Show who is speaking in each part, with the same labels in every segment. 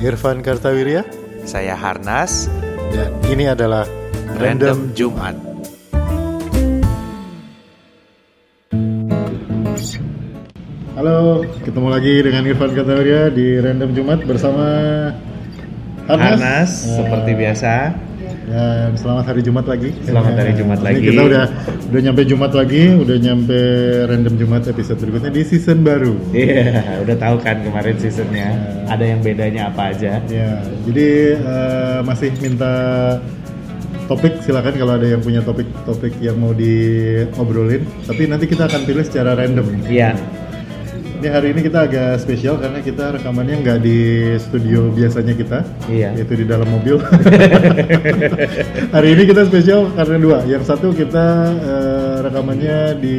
Speaker 1: Irfan Kartawirya
Speaker 2: Saya Harnas,
Speaker 1: dan ini adalah
Speaker 2: Random Jumat.
Speaker 1: Halo, ketemu lagi dengan Irfan Kartawirya di Random Jumat bersama Harnas.
Speaker 2: Harnas, eh,
Speaker 1: Ya,
Speaker 2: seperti biasa.
Speaker 1: Dan selamat hari Jumat lagi.
Speaker 2: Selamat hari Jumat
Speaker 1: ini
Speaker 2: lagi.
Speaker 1: Kita udah udah nyampe Jumat lagi, udah nyampe Random Jumat episode berikutnya di season baru.
Speaker 2: Iya, udah tahu kan kemarin seasonnya. Ada yang bedanya apa aja?
Speaker 1: Ya, jadi eh, masih minta topik silakan kalau ada yang punya topik-topik yang mau diobrolin. Tapi nanti kita akan pilih secara random.
Speaker 2: Iya,
Speaker 1: Ini hari ini kita agak spesial karena kita rekamannya nggak di studio biasanya kita,
Speaker 2: Iya.
Speaker 1: yaitu di dalam mobil. hari ini kita spesial karena dua. Yang satu kita eh, rekamannya di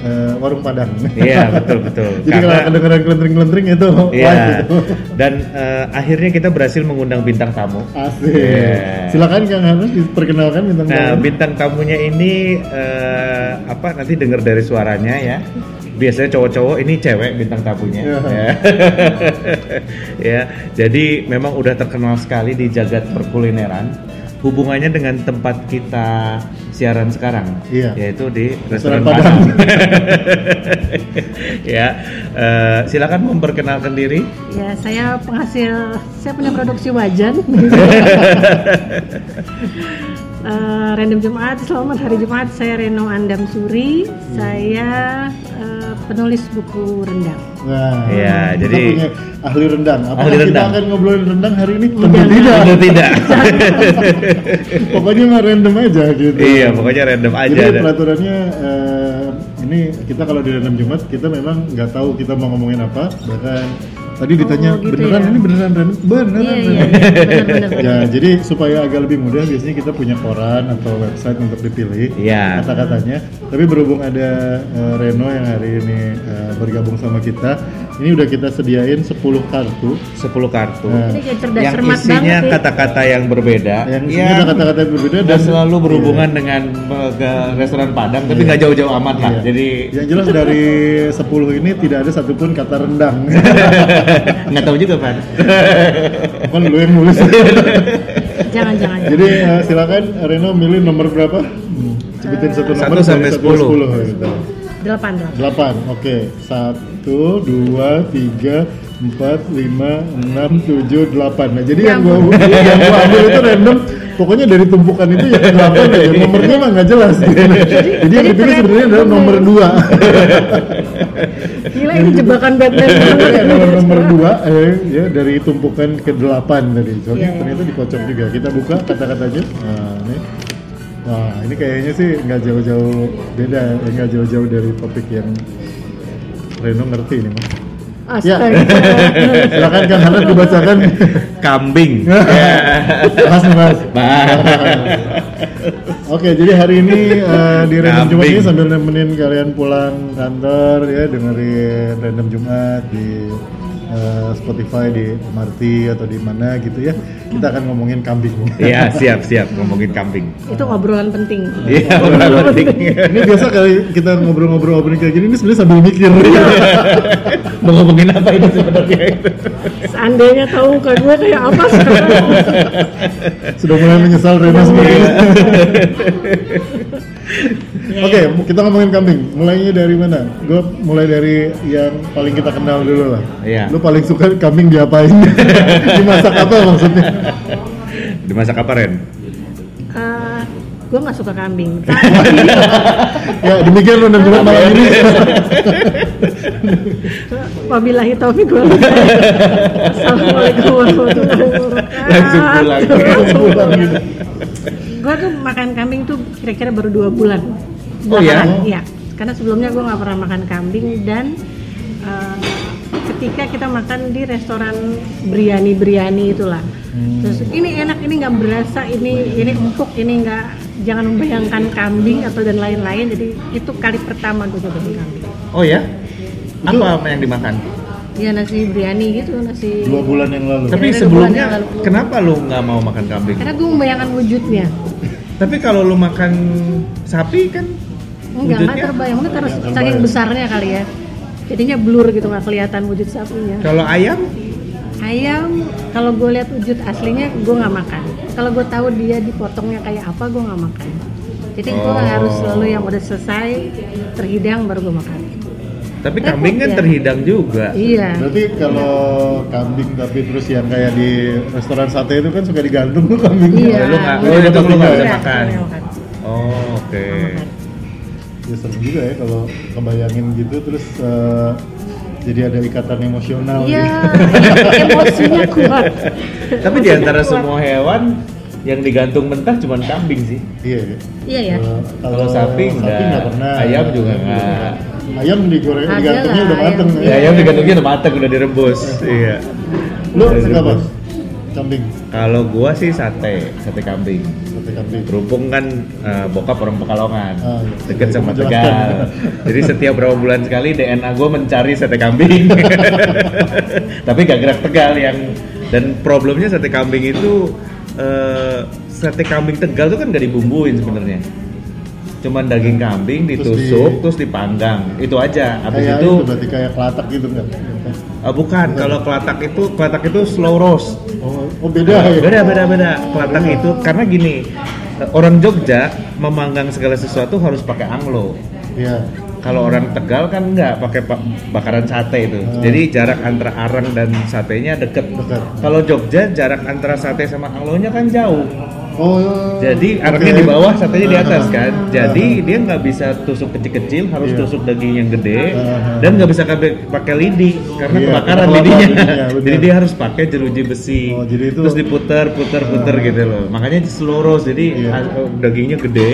Speaker 1: eh, warung Padang.
Speaker 2: iya betul betul.
Speaker 1: Jadi kalau kedengeran kelentring-kelentring itu
Speaker 2: Iya.
Speaker 1: live itu.
Speaker 2: Dan eh, akhirnya kita berhasil mengundang bintang tamu.
Speaker 1: Asik.
Speaker 2: Iya.
Speaker 1: Silakan Kang Hanas diperkenalkan bintang
Speaker 2: Nah,
Speaker 1: tamu.
Speaker 2: bintang tamunya ini eh, apa nanti dengar dari suaranya ya. Biasanya cowok-cowok ini cewek bintang tamunya.
Speaker 1: Ya.
Speaker 2: Ya. ya. Jadi memang udah terkenal sekali di jagat perkulineran. Hubungannya dengan tempat kita siaran sekarang,
Speaker 1: Iya.
Speaker 2: yaitu di
Speaker 1: Restoran
Speaker 2: restoran Padang. ya, eh, silakan memperkenalkan diri.
Speaker 3: Ya, saya penghasil, saya punya produksi wajan. Eh, random Jumat, selamat hari Jumat. Saya Reno Andam Suri. Saya eh, penulis buku rendang.
Speaker 1: Nah,
Speaker 2: Iya,
Speaker 1: kita
Speaker 2: jadi-
Speaker 1: punya ahli rendang. Apakah
Speaker 2: Ahli rendang.
Speaker 1: kita akan ngobrolin rendang hari ini?
Speaker 3: Tentu
Speaker 2: Tentu tidak.
Speaker 1: pokoknya mah random aja gitu.
Speaker 2: iya, pokoknya random aja.
Speaker 1: Jadi
Speaker 2: Dan-
Speaker 1: peraturannya eh, ini kita kalau di random Jumat kita memang nggak tahu kita mau ngomongin apa. Bahkan tadi ditanya
Speaker 3: gitu
Speaker 1: beneran
Speaker 3: ya.
Speaker 1: ini beneran random, beneran.
Speaker 3: Iya,
Speaker 1: random.
Speaker 3: iya, iya. Benar-benar.
Speaker 1: Ya, jadi supaya agak lebih mudah biasanya kita punya koran atau website untuk dipilih
Speaker 2: Iya.
Speaker 1: kata-katanya. Tapi berhubung ada eh, Reno yang hari ini eh, bergabung sama kita, ini udah kita sediain 10 kartu
Speaker 2: 10 kartu
Speaker 1: Nah,
Speaker 3: Ini kayak cerdas
Speaker 2: yang
Speaker 3: cermat
Speaker 2: isinya
Speaker 3: banget. ya.
Speaker 2: kata-kata yang berbeda
Speaker 1: yang
Speaker 2: ya,
Speaker 1: isinya ada kata-kata yang berbeda
Speaker 2: dan selalu berhubungan dengan eh, ke restoran Padang tapi nggak jauh-jauh amat lah
Speaker 1: Iya.
Speaker 2: jadi
Speaker 1: yang jelas dari 10 ini tidak ada satupun kata rendang.
Speaker 2: nggak tahu juga Pak
Speaker 1: Bukan lu yang nulis.
Speaker 3: Jangan, jangan.
Speaker 1: Jadi eh, silakan Reno milih nomor berapa? Sebutin satu
Speaker 2: Satu
Speaker 1: nomor
Speaker 2: sampai
Speaker 1: dari satu ke
Speaker 2: 10.
Speaker 1: gitu.
Speaker 3: Delapan, delapan.
Speaker 1: 8, oke. 1, 2, 3, 4, 5, 6, 7, 8. Nah, jadi
Speaker 3: Ya
Speaker 1: yang gua, yang gua ambil itu random. Pokoknya dari tumpukan itu yang 8 aja. Nomornya mah nggak jelas. Gitu. Jadi yang
Speaker 3: jadi
Speaker 1: dipilih
Speaker 3: trend-
Speaker 1: sebenarnya adalah nomor 2.
Speaker 3: Gila ini jebakan Batman. banget.
Speaker 1: nomor nomor 2 eh, ya, dari tumpukan ke 8 tadi. Soalnya
Speaker 3: Iya, iya.
Speaker 1: ternyata dikocok juga. Kita buka kata-katanya. Nah, ini. Wah, ini kayaknya sih nggak jauh-jauh beda, ya. nggak jauh-jauh dari topik yang Reno ngerti nih. Mas. Ya.
Speaker 3: Astaga.
Speaker 1: silakan Kang Hanan dibacakan
Speaker 2: kambing
Speaker 1: Iya. mas mas oke jadi hari ini eh, di random
Speaker 2: Kambing.
Speaker 1: Jumat ini sambil nemenin kalian pulang kantor ya dengerin random Jumat di eh, Spotify di MRT atau di mana gitu ya kita akan ngomongin kambing
Speaker 2: ya siap siap ngomongin kambing
Speaker 3: Itu obrolan penting.
Speaker 2: iya benar penting
Speaker 1: ini biasa kali kita ngobrol-ngobrol opening kayak gini ini sebenarnya sambil mikir
Speaker 2: mau ngomongin apa ini sebenarnya
Speaker 3: Seandainya tahu ke gue kayak apa sekarang.
Speaker 1: sudah mulai menyesal
Speaker 3: Iya.
Speaker 1: Reno seperti ini. Oke,
Speaker 3: Iya,
Speaker 1: kita ngomongin kambing. Mulainya dari mana? Gue mulai dari yang paling kita kenal dulu lah.
Speaker 2: Iya.
Speaker 1: Lu paling suka kambing diapain? Dimasak apa maksudnya?
Speaker 2: dimasak apa Ren
Speaker 3: Eh, gue nggak suka kambing. Tapi
Speaker 1: Ya, demikian lu dan Jumat malam ini.
Speaker 3: Wabillahi taufiq wal hidayah. Assalamualaikum warahmatullahi wabarakatuh.
Speaker 2: Langsung pulang.
Speaker 1: Pulang gitu.
Speaker 3: Gue tuh makan kambing tuh kira-kira baru dua bulan.
Speaker 2: Oh, ya?
Speaker 3: Belakangan, Iya. Karena sebelumnya gue nggak pernah makan kambing dan eh, ketika kita makan di restoran biryani biryani itulah. Terus ini enak, ini nggak berasa, ini ini empuk, ini nggak jangan membayangkan kambing atau dan lain-lain. Jadi itu kali pertama gue cobain kambing.
Speaker 2: oh ya apa yang dimakan
Speaker 3: Ya nasi biryani gitu, nasi
Speaker 1: Dua bulan yang lalu.
Speaker 2: tapi
Speaker 3: Kira-kira bulan
Speaker 2: sebelumnya
Speaker 3: yang lalu.
Speaker 2: kenapa lu nggak mau makan kambing
Speaker 3: Karena gue membayangkan wujudnya.
Speaker 2: tapi kalau lu makan sapi kan
Speaker 3: Enggak, enggak
Speaker 2: wujudnya-
Speaker 3: terbayang. Mungkin karena
Speaker 1: Nggak
Speaker 3: saking
Speaker 1: terbayang.
Speaker 3: besarnya kali ya. Jadinya blur gitu, nggak kelihatan wujud sapinya.
Speaker 2: Kalau ayam
Speaker 3: ayam kalau gue lihat wujud aslinya gue nggak makan kalau gue tahu dia dipotongnya kayak apa gue nggak makan jadi gue
Speaker 2: Oh.
Speaker 3: harus selalu yang udah selesai terhidang baru gue makan
Speaker 2: Tapi
Speaker 3: Repot
Speaker 2: kambing kan
Speaker 3: ya.
Speaker 2: terhidang juga.
Speaker 3: iya
Speaker 1: Berarti kalau kambing tapi terus yang kayak di restoran sate itu kan suka digantung tuh kambingnya.
Speaker 3: Iya.
Speaker 2: Lu nggak,
Speaker 1: Oh,
Speaker 2: lu tetap
Speaker 1: tetap
Speaker 2: lu nggak
Speaker 1: nggak
Speaker 2: bisa
Speaker 1: ya?
Speaker 2: makan. Iya.
Speaker 3: nggak makan.
Speaker 2: Oh, oke.
Speaker 3: Nggak makan.
Speaker 1: Ya serem juga ya kalau kebayangin gitu terus eh, jadi ada ikatan
Speaker 2: Oh.
Speaker 1: emosional
Speaker 3: iya
Speaker 1: gitu.
Speaker 3: emosinya kuat
Speaker 2: Tapi di antara semua hewan yang digantung mentah cuman kambing sih.
Speaker 1: Iya.
Speaker 3: Iya, ya.
Speaker 2: Oh.
Speaker 1: Kalau-
Speaker 2: Kalau sapi nggak,
Speaker 1: nggak pernah.
Speaker 2: ayam juga nggak.
Speaker 1: Ayam digoreng
Speaker 3: Ada
Speaker 1: digantungnya
Speaker 3: lah
Speaker 1: udah
Speaker 3: ayam.
Speaker 1: mateng.
Speaker 2: Ya, ayam digantungnya udah mateng, udah direbus. iya.
Speaker 1: Lu
Speaker 2: Udah
Speaker 1: suka
Speaker 2: direbus.
Speaker 1: bos? Kambing,
Speaker 2: Kalau gua sih sate, sate kambing.
Speaker 1: sate kambing.
Speaker 2: Kerupung kan eh, bokap orang Pekalongan,
Speaker 1: Ah, iya.
Speaker 2: deket sama
Speaker 1: Menjelaskan.
Speaker 2: Tegal. Jadi setiap berapa bulan sekali DNA gue mencari sate kambing. Tapi gak gerak Tegal yang dan problemnya sate kambing itu eh, sate kambing Tegal tuh kan gak dibumbuin sebenarnya. Cuman daging kambing
Speaker 1: Nah, Terus di- Iya,
Speaker 2: ditusuk terus, dipanggang itu aja. Habis
Speaker 1: kayak
Speaker 2: itu,
Speaker 1: berarti kayak kelatak gitu nggak?
Speaker 2: eh, bukan
Speaker 1: Iya.
Speaker 2: kalau kelatak itu kelatak itu slow roast.
Speaker 1: Oh, oh beda ya.
Speaker 2: Beda beda beda. Kelantan itu karena gini orang Jogja memanggang segala sesuatu harus pakai anglo.
Speaker 1: Iya.
Speaker 2: Kalau orang Tegal kan nggak pakai pa- bakaran sate itu.
Speaker 1: Hmm.
Speaker 2: Jadi jarak antara arang dan satenya deket.
Speaker 1: Deket.
Speaker 2: Kalau Jogja jarak antara sate sama anglonya kan jauh.
Speaker 1: Oh.
Speaker 2: Jadi
Speaker 1: oke.
Speaker 2: arangnya di bawah, satenya di
Speaker 1: Ah,
Speaker 2: atas kan.
Speaker 1: ah,
Speaker 2: Jadi dia nggak bisa tusuk kecil-kecil, harus
Speaker 1: Iya.
Speaker 2: tusuk daging yang gede
Speaker 1: Ah.
Speaker 2: dan nggak bisa kabe- pakai lidi karena
Speaker 1: Iya,
Speaker 2: kebakaran
Speaker 1: kebakaran
Speaker 2: lidinya.
Speaker 1: lidinya, benar.
Speaker 2: jadi dia harus pakai jeruji besi.
Speaker 1: Oh, jadi itu-
Speaker 2: terus diputar, putar, putar
Speaker 1: Ah.
Speaker 2: gitu loh. Makanya seluruh jadi
Speaker 1: Iya.
Speaker 2: as- dagingnya gede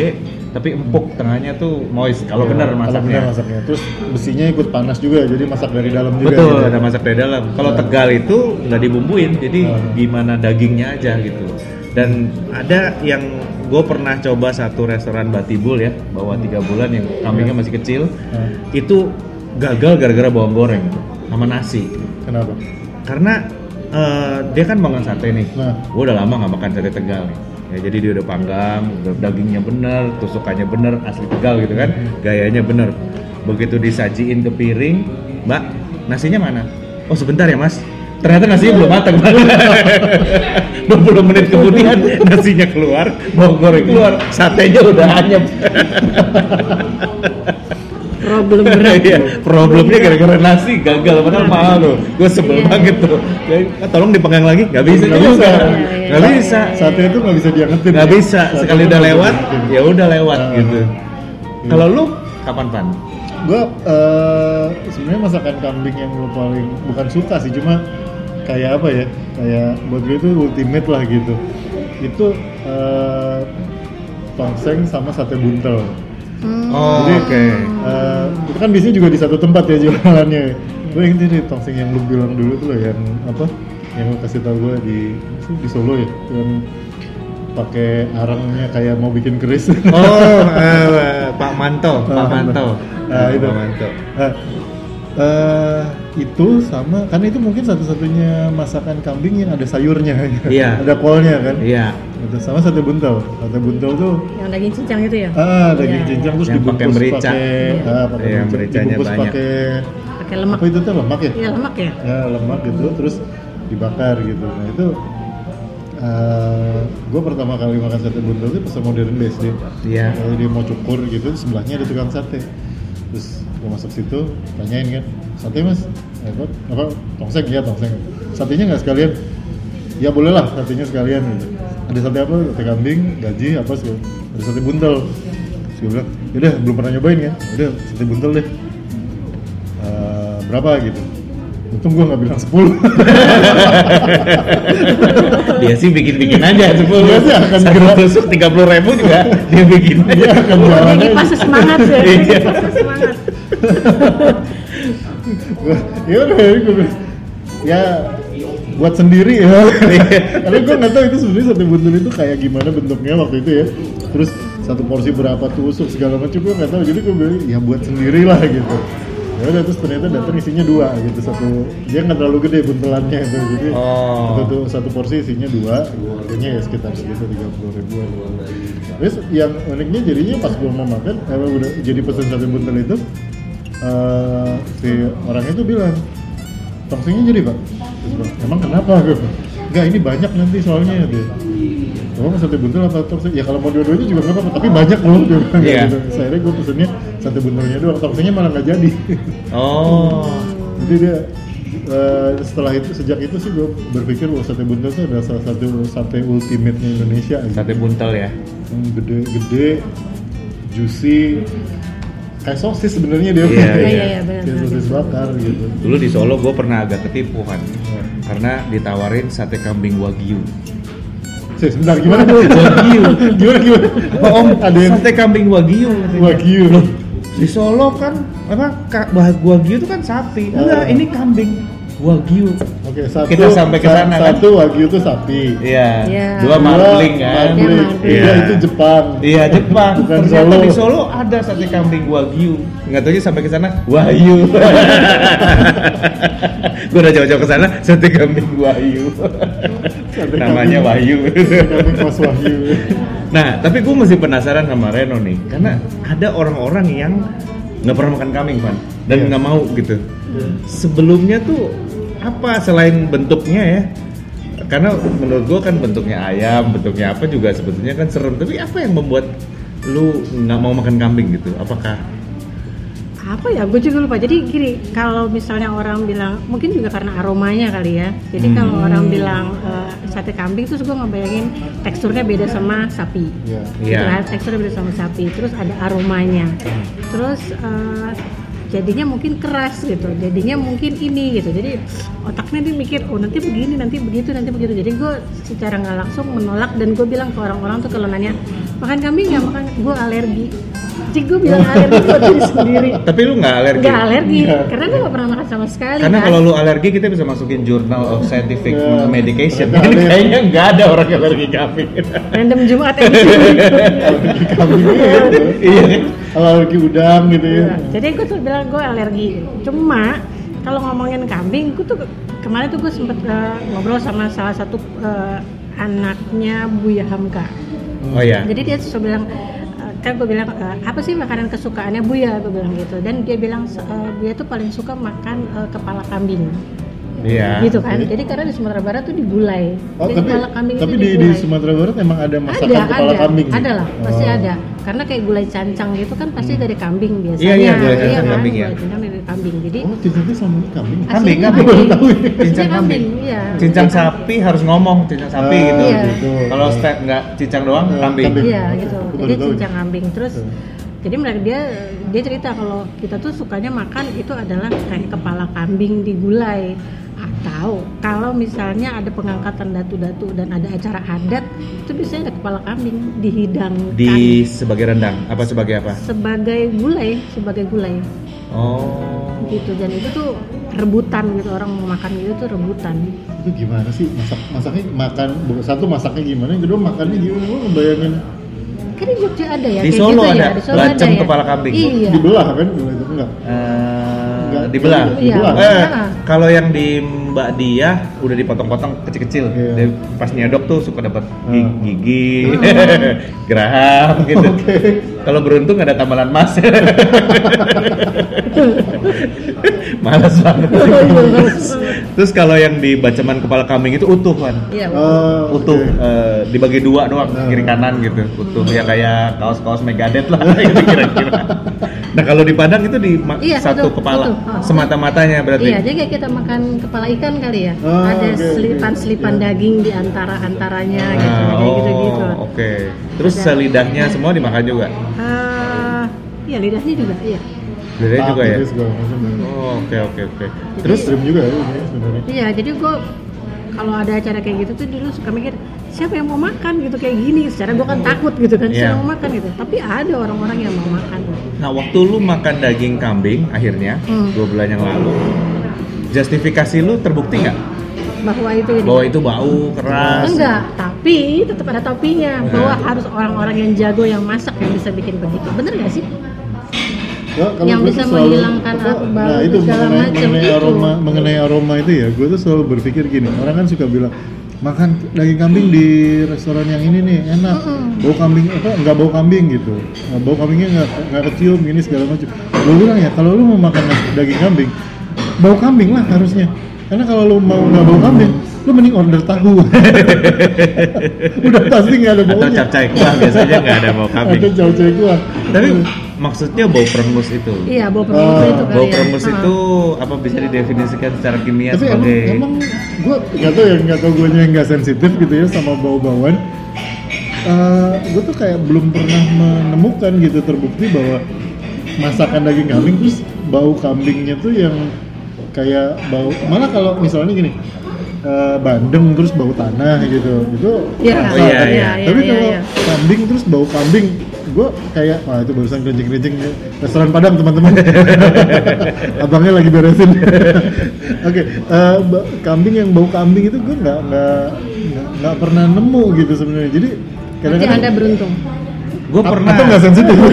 Speaker 2: tapi empuk tengahnya tuh moist kalau
Speaker 1: Iya,
Speaker 2: benar
Speaker 1: Kalau benar
Speaker 2: masaknya.
Speaker 1: masaknya. Terus besinya ikut panas juga, jadi masak dari dalam juga.
Speaker 2: Betul,
Speaker 1: gitu.
Speaker 2: ya, ada masak dari dalam. Kalau
Speaker 1: Ah.
Speaker 2: Tegal itu nggak dibumbuin, jadi
Speaker 1: Ah.
Speaker 2: gimana dagingnya aja gitu. Dan ada yang gue pernah coba satu restoran Batibul ya, bawa tiga bulan yang kambingnya masih kecil,
Speaker 1: Ah.
Speaker 2: itu gagal gara-gara bawang goreng sama nasi.
Speaker 1: Kenapa?
Speaker 2: Karena eh, dia kan makan sate nih,
Speaker 1: Nah.
Speaker 2: gue udah lama nggak makan sate Tegal nih. Ya, jadi dia udah panggang, udah dagingnya bener, tusukannya bener, asli Tegal gitu kan, gayanya bener. Begitu disajiin ke piring, Mbak, nasinya mana? Oh sebentar ya Mas. Ternyata nasinya belum matang. 20 menit kemudian nasinya keluar, bawang goreng keluar, satenya udah anyep.
Speaker 3: problem berat
Speaker 2: Iya, problemnya gara-gara nasi gagal padahal mahal loh. Gue sebel
Speaker 3: Iya.
Speaker 2: banget tuh. Ya, tolong dipenggang lagi, nggak bisa
Speaker 1: Nggak
Speaker 2: juga.
Speaker 1: bisa.
Speaker 3: Iya,
Speaker 2: Nggak
Speaker 3: iya,
Speaker 2: bisa.
Speaker 3: iya.
Speaker 1: Sate itu nggak bisa diangetin.
Speaker 2: Nggak bisa.
Speaker 1: Sate
Speaker 2: Sekali
Speaker 1: itu
Speaker 2: udah
Speaker 1: nggak bisa
Speaker 2: lewat,
Speaker 1: diangetin.
Speaker 2: ya udah lewat
Speaker 1: Ah.
Speaker 2: gitu.
Speaker 1: Iya.
Speaker 2: Kalau lu kapan pan?
Speaker 1: gue eh, sebenarnya masakan kambing yang gue paling bukan suka sih cuma kayak apa ya kayak buat gue itu ultimate lah gitu itu eh, tongseng sama sate buntel
Speaker 3: Hmm.
Speaker 2: Oh,
Speaker 1: Jadi, eh, itu kan biasanya juga di satu tempat ya jualannya gue inget nih tongseng yang lu bilang dulu tuh loh yang apa yang lu kasih tau gue di di Solo ya yang pakai arangnya kayak mau bikin keris
Speaker 2: Oh, Pak Manto,
Speaker 1: Pak Manto. Nah, Pak
Speaker 2: Manto.
Speaker 1: Nah, eh, itu sama kan itu mungkin satu-satunya masakan kambing yang ada sayurnya
Speaker 2: Iya.
Speaker 1: ada kolnya kan
Speaker 2: Iya.
Speaker 1: itu sama sate buntel sate buntel tuh
Speaker 3: yang daging cincang itu ya
Speaker 1: ah daging
Speaker 3: Iya,
Speaker 1: cincang terus
Speaker 2: Yang pakai
Speaker 1: dibungkus pakai
Speaker 2: merica.
Speaker 1: ah, pakai
Speaker 2: Iya,
Speaker 1: merica,
Speaker 2: mericanya
Speaker 1: dibungkus
Speaker 2: banyak.
Speaker 1: pakai
Speaker 3: pakai lemak
Speaker 1: apa itu tuh lemak ya
Speaker 3: iya lemak ya
Speaker 1: ya lemak gitu terus dibakar gitu nah itu gue pertama kali makan sate buntel itu pas modern BSD
Speaker 2: Iya.
Speaker 1: kalau dia mau cukur gitu sebelahnya ada tukang sate terus gue masuk situ tanyain kan sate mas Ya, Pak. apa tongseng ya tongseng satenya nggak sekalian ya boleh lah satenya sekalian gitu ada sate apa sate kambing gaji apa sih ada sate buntel terus gue bilang "Ya udah belum pernah nyobain kan udah sate buntel deh Eh, berapa gitu untung gue nggak bilang 10
Speaker 2: Dia sih bikin-bikin aja
Speaker 1: Dia
Speaker 2: sepuluh.
Speaker 1: sih akan
Speaker 2: Satu
Speaker 1: gerak. Iya.
Speaker 2: tusuk tiga puluh ribu juga dia bikin aja.
Speaker 1: akan
Speaker 3: Oh,
Speaker 1: jalan
Speaker 3: jadi
Speaker 1: aja.
Speaker 3: pas semangat ya
Speaker 2: Iya.
Speaker 3: pas semangat
Speaker 1: Gua- ya udah ya gua bilang, ya buat sendiri ya karena gue nggak tahu itu sebenarnya sate buntel itu kayak gimana bentuknya waktu itu ya terus satu porsi berapa tusuk segala macam gue nggak tahu jadi gue bilang ya buat sendiri lah gitu ya udah terus ternyata datang isinya dua gitu satu dia nggak terlalu gede buntelannya itu jadi
Speaker 2: Oh.
Speaker 1: satu, tuh- satu porsi isinya dua gua harganya ya sekitar segitu tiga puluh ribu terus yang uniknya jadinya pas gue mau makan eh, udah jadi pesan sate buntel itu eh si orangnya tuh bilang tongsengnya jadi pak Terus gua, emang kenapa gue enggak ini banyak nanti soalnya dia kamu mau sate buntel atau tongseng? Ya kalau mau dua-duanya juga nggak apa-apa, tapi banyak loh dia bilang kayak
Speaker 2: Iya.
Speaker 1: gitu. Terus Akhirnya gue pesennya sate buntelnya doang, tongsengnya malah nggak jadi.
Speaker 2: Oh.
Speaker 1: Jadi dia eh, setelah itu sejak itu sih gue berpikir bahwa sate buntel itu adalah salah satu sate ultimate nya Indonesia. gitu.
Speaker 2: Sate buntel ya.
Speaker 1: yang gede-gede, juicy, kayak sosis sebenarnya dia.
Speaker 2: Iya,
Speaker 3: Iya, iya, iya, benar,
Speaker 1: Kayak
Speaker 3: benar.
Speaker 1: sosis bakar gitu.
Speaker 2: Dulu di Solo gue pernah agak ketipuan karena ditawarin sate kambing wagyu.
Speaker 1: Sis, sebentar gimana tuh?
Speaker 2: Wagyu.
Speaker 1: gimana gimana?
Speaker 2: Apa
Speaker 1: Oh,
Speaker 2: om?
Speaker 1: ada yang
Speaker 2: Sate kambing wagyu. katanya.
Speaker 1: wagyu.
Speaker 2: Di Solo kan apa ka- bah- wagyu itu kan sapi.
Speaker 1: Ah.
Speaker 2: Enggak, ini kambing wagyu.
Speaker 1: Oke, satu,
Speaker 2: Kita sampai ke
Speaker 1: sa-
Speaker 2: sana, kan?
Speaker 1: Satu wagyu itu sapi.
Speaker 2: Iya.
Speaker 3: Iya.
Speaker 2: Dua marbling kan.
Speaker 1: Marling.
Speaker 3: marbling.
Speaker 2: Iya.
Speaker 1: Iya, itu Jepang.
Speaker 2: Iya Jepang.
Speaker 1: Bukan
Speaker 2: Ternyata
Speaker 1: Solo.
Speaker 2: di Solo ada sate kambing wagyu. Nggak tahu aja sampai ke sana wahyu. Gue udah jauh-jauh ke sana sate kambing wahyu.
Speaker 1: Sate kambing.
Speaker 2: Namanya wahyu.
Speaker 1: Kami kos wagyu.
Speaker 2: nah tapi gue masih penasaran sama Reno nih karena ada orang-orang yang nggak pernah makan kambing pan dan
Speaker 1: Iya.
Speaker 2: nggak mau gitu. Sebelumnya tuh apa selain bentuknya ya? Karena menurut gua kan bentuknya ayam, bentuknya apa juga sebetulnya kan serem. Tapi apa yang membuat lu nggak mau makan kambing gitu? Apakah
Speaker 3: apa ya gue juga lupa jadi gini kalau misalnya orang bilang mungkin juga karena aromanya kali ya jadi kalau
Speaker 2: Hmm.
Speaker 3: orang bilang eh, sate kambing terus gue ngebayangin teksturnya beda sama sapi
Speaker 1: Iya.
Speaker 3: gitu kan,
Speaker 2: Iya. Hmm.
Speaker 3: teksturnya beda sama sapi terus ada aromanya terus eh, jadinya mungkin keras gitu jadinya mungkin ini gitu jadi otaknya dia mikir oh nanti begini nanti begitu nanti begitu jadi gue secara nggak langsung menolak dan gue bilang ke orang-orang tuh kalau nanya makan kambing nggak makan gue alergi jadi gue bilang alergi buat diri sendiri
Speaker 2: Tapi lu nggak alergi? Iya.
Speaker 3: Nggak alergi,
Speaker 1: Nggak.
Speaker 3: karena gue gak pernah makan sama sekali
Speaker 2: Karena
Speaker 3: kan.
Speaker 2: kalau lu alergi kita bisa masukin Journal of Scientific
Speaker 1: Iya.
Speaker 2: Medication.
Speaker 1: Nggak
Speaker 2: Ini
Speaker 1: ada.
Speaker 2: kayaknya nggak ada orang alergi kambing.
Speaker 3: Random Jumat edition.
Speaker 1: Alergi kambing gitu.
Speaker 2: Iya. kan?
Speaker 1: Alergi udang gitu ya.
Speaker 3: Iya. Jadi gue tuh bilang gue alergi Cuma kalau ngomongin kambing, gue tuh kemarin tuh gue sempet eh, ngobrol sama salah satu eh, anaknya Buya Hamka
Speaker 2: Oh
Speaker 1: Iya.
Speaker 2: ya.
Speaker 3: Jadi dia suka bilang eh, kan gue bilang eh, apa sih makanan kesukaannya Buya gue bilang gitu dan dia bilang eh, Buya tuh paling suka makan eh, kepala kambing
Speaker 2: Iya.
Speaker 3: gitu kan
Speaker 1: Jadi-
Speaker 3: jadi karena di Sumatera Barat tuh digulai
Speaker 1: Ah, Oh,
Speaker 3: Jadi
Speaker 1: tapi
Speaker 3: kepala kambing
Speaker 1: tapi
Speaker 3: itu
Speaker 1: di, di
Speaker 3: digulai.
Speaker 1: Sumatera Barat emang ada masakan
Speaker 3: ada,
Speaker 1: kepala
Speaker 3: ada,
Speaker 1: kambing.
Speaker 3: Ada lah, pasti
Speaker 1: Oh.
Speaker 3: ada. Karena kayak gulai cancang gitu kan pasti dari kambing biasanya.
Speaker 2: Iya, iya, gulai cancang
Speaker 3: kan?
Speaker 2: kambing ya.
Speaker 3: Gulai cancang dari kambing. Jadi
Speaker 1: Oh, cincangnya sama ini kambing.
Speaker 3: aslinya
Speaker 2: kambing, kan?
Speaker 1: Baru tahu ya.
Speaker 2: Cincang
Speaker 3: Aslinya
Speaker 2: kambing.
Speaker 3: kambing, iya.
Speaker 2: Cincang sapi harus ngomong, cincang sapi
Speaker 1: Ah,
Speaker 2: gitu.
Speaker 3: Iya.
Speaker 1: gitu.
Speaker 2: Kalau step nggak cincang doang,
Speaker 1: Iya,
Speaker 2: kambing. Oh,
Speaker 1: kambing.
Speaker 3: Iya
Speaker 1: Oke,
Speaker 3: gitu.
Speaker 1: aku baru
Speaker 3: Jadi
Speaker 1: tahu
Speaker 3: cincang
Speaker 1: nih.
Speaker 3: kambing terus
Speaker 1: Tuh.
Speaker 3: jadi mereka dia dia cerita kalau kita tuh sukanya makan itu adalah kayak kepala kambing digulai atau kalau misalnya ada pengangkatan datu-datu dan ada acara adat itu biasanya ada kepala kambing dihidangkan
Speaker 2: Di sebagai rendang, apa sebagai apa?
Speaker 3: sebagai gulai sebagai gulai
Speaker 2: Oh.
Speaker 3: gitu dan itu tuh rebutan gitu orang mau makan gitu tuh rebutan
Speaker 1: Itu gimana sih masak masaknya makan satu masaknya gimana, yang kedua makannya gimana? Gue ngebayangin
Speaker 3: kan di Jogja ada ya
Speaker 2: Di
Speaker 3: kayak
Speaker 2: Solo
Speaker 3: gitu
Speaker 2: ada,
Speaker 3: ya, di Solo
Speaker 2: bacem
Speaker 3: ada ya.
Speaker 2: kepala kambing.
Speaker 3: iya
Speaker 1: dibelah kan gulai itu enggak.
Speaker 2: Eh,
Speaker 1: Nggak,
Speaker 2: dibelah.
Speaker 1: iya,
Speaker 2: Dibelah.
Speaker 3: iya.
Speaker 2: Eh, kalau yang di Mbak Dia udah dipotong-potong kecil-kecil.
Speaker 1: Iya.
Speaker 2: Dia Pas nyadok tuh suka dapat gi-
Speaker 1: Ah.
Speaker 2: gigi, geraham gitu. Kalau beruntung ada tambalan emas. Malas banget.
Speaker 1: Oh, iya,
Speaker 2: Terus kalau yang di bacaman kepala kambing itu utuh kan.
Speaker 3: iya
Speaker 1: Oh,
Speaker 2: utuh
Speaker 1: oke.
Speaker 2: eh, dibagi dua doang
Speaker 1: Nah.
Speaker 2: kiri kanan gitu utuh ya kayak kaos-kaos Megadeth lah gitu kira-kira nah kalau di Padang itu di ma-
Speaker 3: Iya,
Speaker 2: satu
Speaker 3: betul,
Speaker 2: kepala
Speaker 3: betul. Oh.
Speaker 2: semata-matanya berarti
Speaker 3: iya jadi kayak kita makan kepala ikan kali ya
Speaker 1: Oh,
Speaker 3: ada
Speaker 1: oke, oke.
Speaker 3: selipan-selipan
Speaker 1: Iya.
Speaker 3: daging di antara antaranya
Speaker 2: Nah,
Speaker 3: gitu kayak
Speaker 2: oh,
Speaker 3: gitu-gitu
Speaker 2: oke terus
Speaker 3: Ada.
Speaker 2: selidahnya semua dimakan juga
Speaker 3: Ah, iya lidahnya juga iya
Speaker 2: bedanya juga ya
Speaker 1: Terus segala macam.
Speaker 2: Oh, oke oke oke
Speaker 1: Terus
Speaker 2: terus
Speaker 1: serem juga ya ini sebenarnya.
Speaker 3: Iya, jadi gue kalau ada acara kayak gitu tuh dulu suka mikir siapa yang mau makan gitu kayak gini. Secara gue kan takut gitu kan,
Speaker 2: Iya.
Speaker 3: siapa yang mau makan gitu. Tapi ada orang-orang yang mau makan.
Speaker 2: nah waktu lu makan daging kambing akhirnya
Speaker 3: Hmm.
Speaker 2: dua bulan yang lalu justifikasi lu terbukti nggak
Speaker 3: Bahwa itu ini.
Speaker 2: bahwa itu bau keras
Speaker 3: Enggak, tapi tetap ada topinya
Speaker 2: Nah.
Speaker 3: bahwa harus orang-orang yang jago yang masak yang bisa bikin begitu. Bener gak sih?
Speaker 1: Nah, kalau
Speaker 3: Yang
Speaker 1: gua
Speaker 3: bisa
Speaker 1: tuh selalu-
Speaker 3: menghilangkan
Speaker 1: apa,
Speaker 3: aku
Speaker 1: nah,
Speaker 3: bau dan
Speaker 1: itu
Speaker 3: segala
Speaker 1: mengenai,
Speaker 3: macam gitu.
Speaker 1: mengenai
Speaker 3: itu.
Speaker 1: aroma mengenai aroma itu ya gue tuh selalu berpikir gini orang kan suka bilang makan daging kambing di restoran yang ini nih enak
Speaker 3: Mm-mm.
Speaker 1: bau kambing apa nggak bau kambing gitu Nah, bau kambingnya nggak nggak kecium ini segala macam gue bilang ya kalau lu mau makan daging kambing bau kambing lah harusnya Karena kalau lu mau nggak bau kambing, lu mending order tahu. Udah pasti nggak ada
Speaker 2: Atau
Speaker 1: baunya.
Speaker 2: capcay kuah biasanya nggak ada bau kambing.
Speaker 1: Ada capcay kuah.
Speaker 2: Tapi maksudnya bau perengus itu.
Speaker 3: Iya, bau perengus
Speaker 1: Oh,
Speaker 3: itu kali
Speaker 2: Bau
Speaker 3: ya.
Speaker 2: perengus
Speaker 3: Ah.
Speaker 2: itu apa bisa didefinisikan secara kimia
Speaker 1: Tapi emang,
Speaker 2: sebagai
Speaker 1: emang gue nggak tau ya nggak tau gue yang nggak sensitif gitu ya sama bau-bauan. gue tuh kayak belum pernah menemukan gitu terbukti bahwa masakan daging kambing terus bau kambingnya tuh yang kayak bau malah kalau misalnya gini eh, bandeng terus bau tanah gitu itu
Speaker 3: Iya,
Speaker 1: masalah.
Speaker 2: iya, iya,
Speaker 1: tapi
Speaker 3: iya,
Speaker 1: kalau
Speaker 3: iya.
Speaker 1: kambing terus bau kambing gue kayak wah itu barusan kencing-kencing restoran Padang teman-teman abangnya lagi beresin oke eh, ba- kambing yang bau kambing itu gue nggak nggak nggak- nggak pernah nemu gitu sebenarnya jadi
Speaker 3: Berarti
Speaker 1: kadang-kadang
Speaker 3: Anda beruntung.
Speaker 2: gue pernah
Speaker 1: atau nggak sensitif
Speaker 2: gue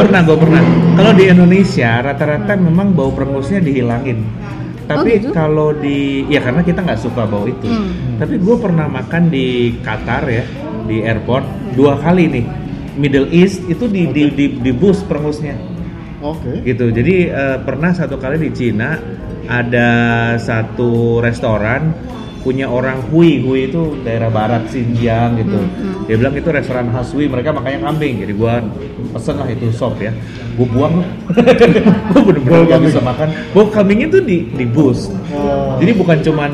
Speaker 2: pernah gue pernah kalau di Indonesia rata-rata memang bau perengusnya dihilangin tapi
Speaker 3: Hmm. gitu?
Speaker 2: kalau di ya karena kita nggak suka bau itu
Speaker 3: Hmm.
Speaker 2: tapi gue pernah makan di Qatar ya di airport dua kali nih Middle East itu di di di, di bus perengusnya
Speaker 1: oke
Speaker 2: gitu jadi eh, pernah satu kali di Cina ada satu restoran punya orang Hui Hui itu daerah barat Xinjiang gitu
Speaker 1: Mm-hmm.
Speaker 3: Hmm,
Speaker 2: dia bilang itu restoran khas Hui mereka makanya kambing jadi gua pesen lah itu sop ya gua buang lah. gua bener-bener
Speaker 1: Bau
Speaker 2: gak
Speaker 1: kambing.
Speaker 2: bisa makan bau kambingnya tuh di di bus
Speaker 1: Oh.
Speaker 2: jadi bukan cuman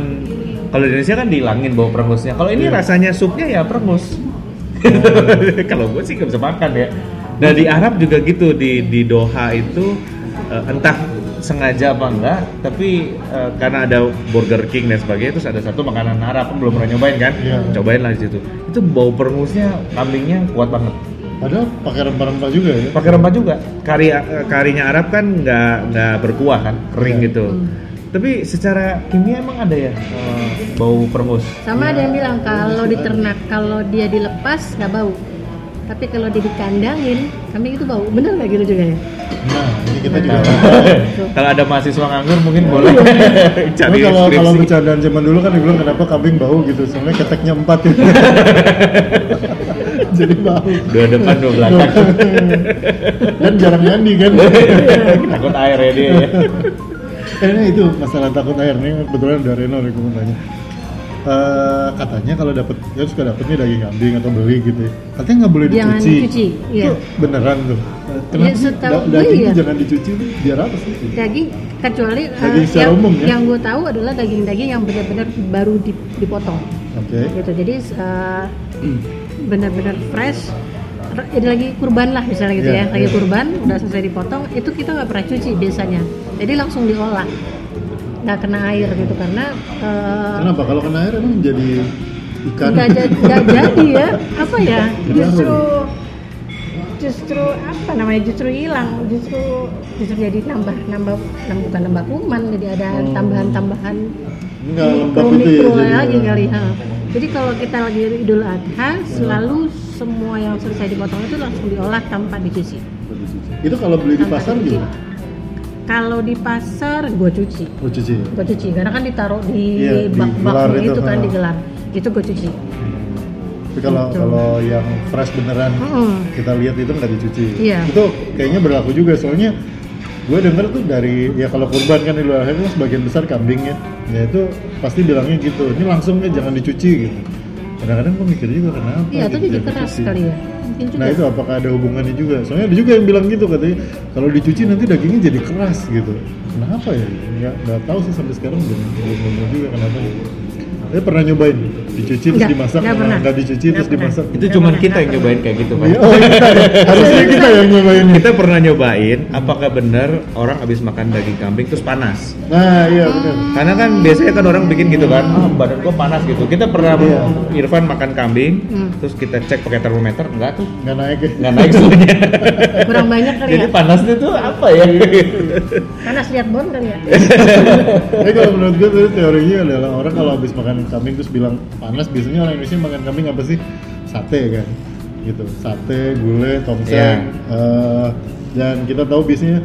Speaker 2: kalau di Indonesia kan dihilangin bau perengusnya kalau ini
Speaker 1: Iya.
Speaker 2: rasanya supnya ya perengus
Speaker 1: Hmm.
Speaker 2: kalau gue sih nggak bisa makan ya nah di Arab juga gitu di di Doha itu eh, entah sengaja apa enggak tapi eh, karena ada Burger King dan sebagainya terus ada satu makanan Arab belum pernah nyobain kan
Speaker 1: Iya.
Speaker 2: cobain lah di situ itu bau perengusnya kambingnya kuat banget
Speaker 1: padahal pakai rempah-rempah juga ya
Speaker 2: pakai rempah juga kari eh, karinya Arab kan nggak nggak berkuah kan kering
Speaker 1: Iya.
Speaker 2: gitu tapi secara kimia emang ada ya eh, bau perengus
Speaker 3: Sama ada yang bilang kalau diternak, kalau dia dilepas nggak bau. Tapi kalau dia dikandangin, kambing itu bau. Bener nggak gitu juga ya?
Speaker 1: nah ini kita juga
Speaker 2: kalau ada mahasiswa nganggur mungkin boleh cari
Speaker 1: Tapi kalau kalau
Speaker 2: skripsi
Speaker 1: bercandaan zaman dulu kan dibilang kenapa kambing bau gitu, sebenarnya keteknya empat ya. Jadi bau.
Speaker 2: dua depan dua belakang
Speaker 1: Dan jarang mandi kan.
Speaker 2: takut air ya dia ya
Speaker 1: Karena itu masalah takut air nih kebetulan dari Reno nih, gue mau tanya. Eh, katanya kalau dapat ya suka dapetnya daging kambing atau beli gitu ya. Katanya nggak boleh dicuci.
Speaker 3: Jangan dicuci, iya.
Speaker 1: Itu beneran tuh. Eh, Kenapa
Speaker 3: Ya,
Speaker 1: sih
Speaker 3: setahu
Speaker 1: da-
Speaker 3: gue
Speaker 1: daging
Speaker 3: iya.
Speaker 1: tuh jangan dicuci tuh biar apa sih?
Speaker 3: Daging kecuali eh,
Speaker 1: Daging secara
Speaker 3: yang,
Speaker 1: umum, ya?
Speaker 3: yang gue tahu adalah daging-daging yang benar-benar baru di- dipotong.
Speaker 1: Oke.
Speaker 3: gitu jadi eh, benar-benar fresh Re- ini lagi kurban lah misalnya gitu
Speaker 1: Iya,
Speaker 3: ya lagi
Speaker 1: iya.
Speaker 3: kurban udah selesai dipotong itu kita nggak pernah cuci biasanya jadi langsung diolah nggak kena air gitu karena eh,
Speaker 1: Kenapa kalau kena air emang jadi ikan?
Speaker 3: nggak jadi, nggak jadi ya apa ya justru justru apa namanya justru hilang justru justru jadi nambah nambah nambah- bukan nambah kuman jadi ada
Speaker 1: Hmm.
Speaker 3: tambahan-tambahan
Speaker 1: Enggak lembab
Speaker 3: mikro
Speaker 1: itu ya
Speaker 3: mikro
Speaker 1: jadi.
Speaker 3: lagi kali ha. jadi kalau kita lagi idul adha selalu semua yang selesai dipotong itu langsung diolah tanpa dicuci
Speaker 1: Itu kalau beli di
Speaker 3: Tanpa
Speaker 1: pasar
Speaker 3: cuci.
Speaker 1: gitu.
Speaker 3: kalau di pasar gue cuci
Speaker 1: Oh cuci. ya?
Speaker 3: gue cuci karena kan ditaruh di
Speaker 1: Iya, di gelar
Speaker 3: bak-bak
Speaker 1: itu,
Speaker 3: itu, kan
Speaker 1: ha. Nah,
Speaker 3: di gelar itu gue cuci
Speaker 1: Tapi kalau
Speaker 3: Betul.
Speaker 1: kalau yang fresh beneran
Speaker 3: Gitu. Mm-mm.
Speaker 1: kita lihat itu nggak dicuci.
Speaker 3: Iya.
Speaker 1: Itu kayaknya berlaku juga soalnya gue denger tuh dari ya kalau kurban kan di luar hari itu sebagian besar kambingnya ya itu pasti bilangnya gitu ini langsung ya jangan dicuci gitu kadang-kadang gue mikir juga kenapa
Speaker 3: Iya, itu
Speaker 1: gitu
Speaker 3: jadi
Speaker 1: jangan
Speaker 3: keras
Speaker 1: dicuci.
Speaker 3: kali ya. Mungkin juga.
Speaker 1: nah itu apakah ada hubungannya juga soalnya ada juga yang bilang gitu katanya kalau dicuci nanti dagingnya jadi keras gitu kenapa ya nggak nggak tahu sih sampai sekarang belum belum nemu juga kenapa saya pernah nyobain dicuci terus
Speaker 3: Nggak,
Speaker 1: dimasak
Speaker 3: nggak
Speaker 1: malah
Speaker 3: pernah.
Speaker 1: nggak dicuci
Speaker 3: Nggak
Speaker 1: terus
Speaker 3: pernah.
Speaker 1: dimasak
Speaker 2: itu cuman kita yang nyobain kayak gitu
Speaker 1: Iya,
Speaker 2: pak
Speaker 1: oh, kita ya. harusnya kita yang nyobain
Speaker 2: kita pernah nyobain apakah bener orang habis makan daging kambing terus panas
Speaker 1: nah iya benar
Speaker 2: karena kan biasanya kan orang bikin gitu kan ah badan gua panas gitu kita pernah
Speaker 1: Iya.
Speaker 2: Irfan makan kambing
Speaker 3: Hmm.
Speaker 2: terus kita cek pakai termometer enggak tuh
Speaker 1: nggak naik ya
Speaker 2: nggak naik suhunya
Speaker 3: kurang banyak kali
Speaker 2: jadi
Speaker 3: ya
Speaker 2: panasnya tuh apa ya
Speaker 3: panas lihat bon kali ya
Speaker 1: tapi kalau menurut gue tadi teorinya adalah orang kalau habis makan kambing terus bilang panas biasanya orang Indonesia makan kambing apa sih sate kan gitu sate gulai
Speaker 2: Iya.
Speaker 1: tongseng eh, dan kita tahu biasanya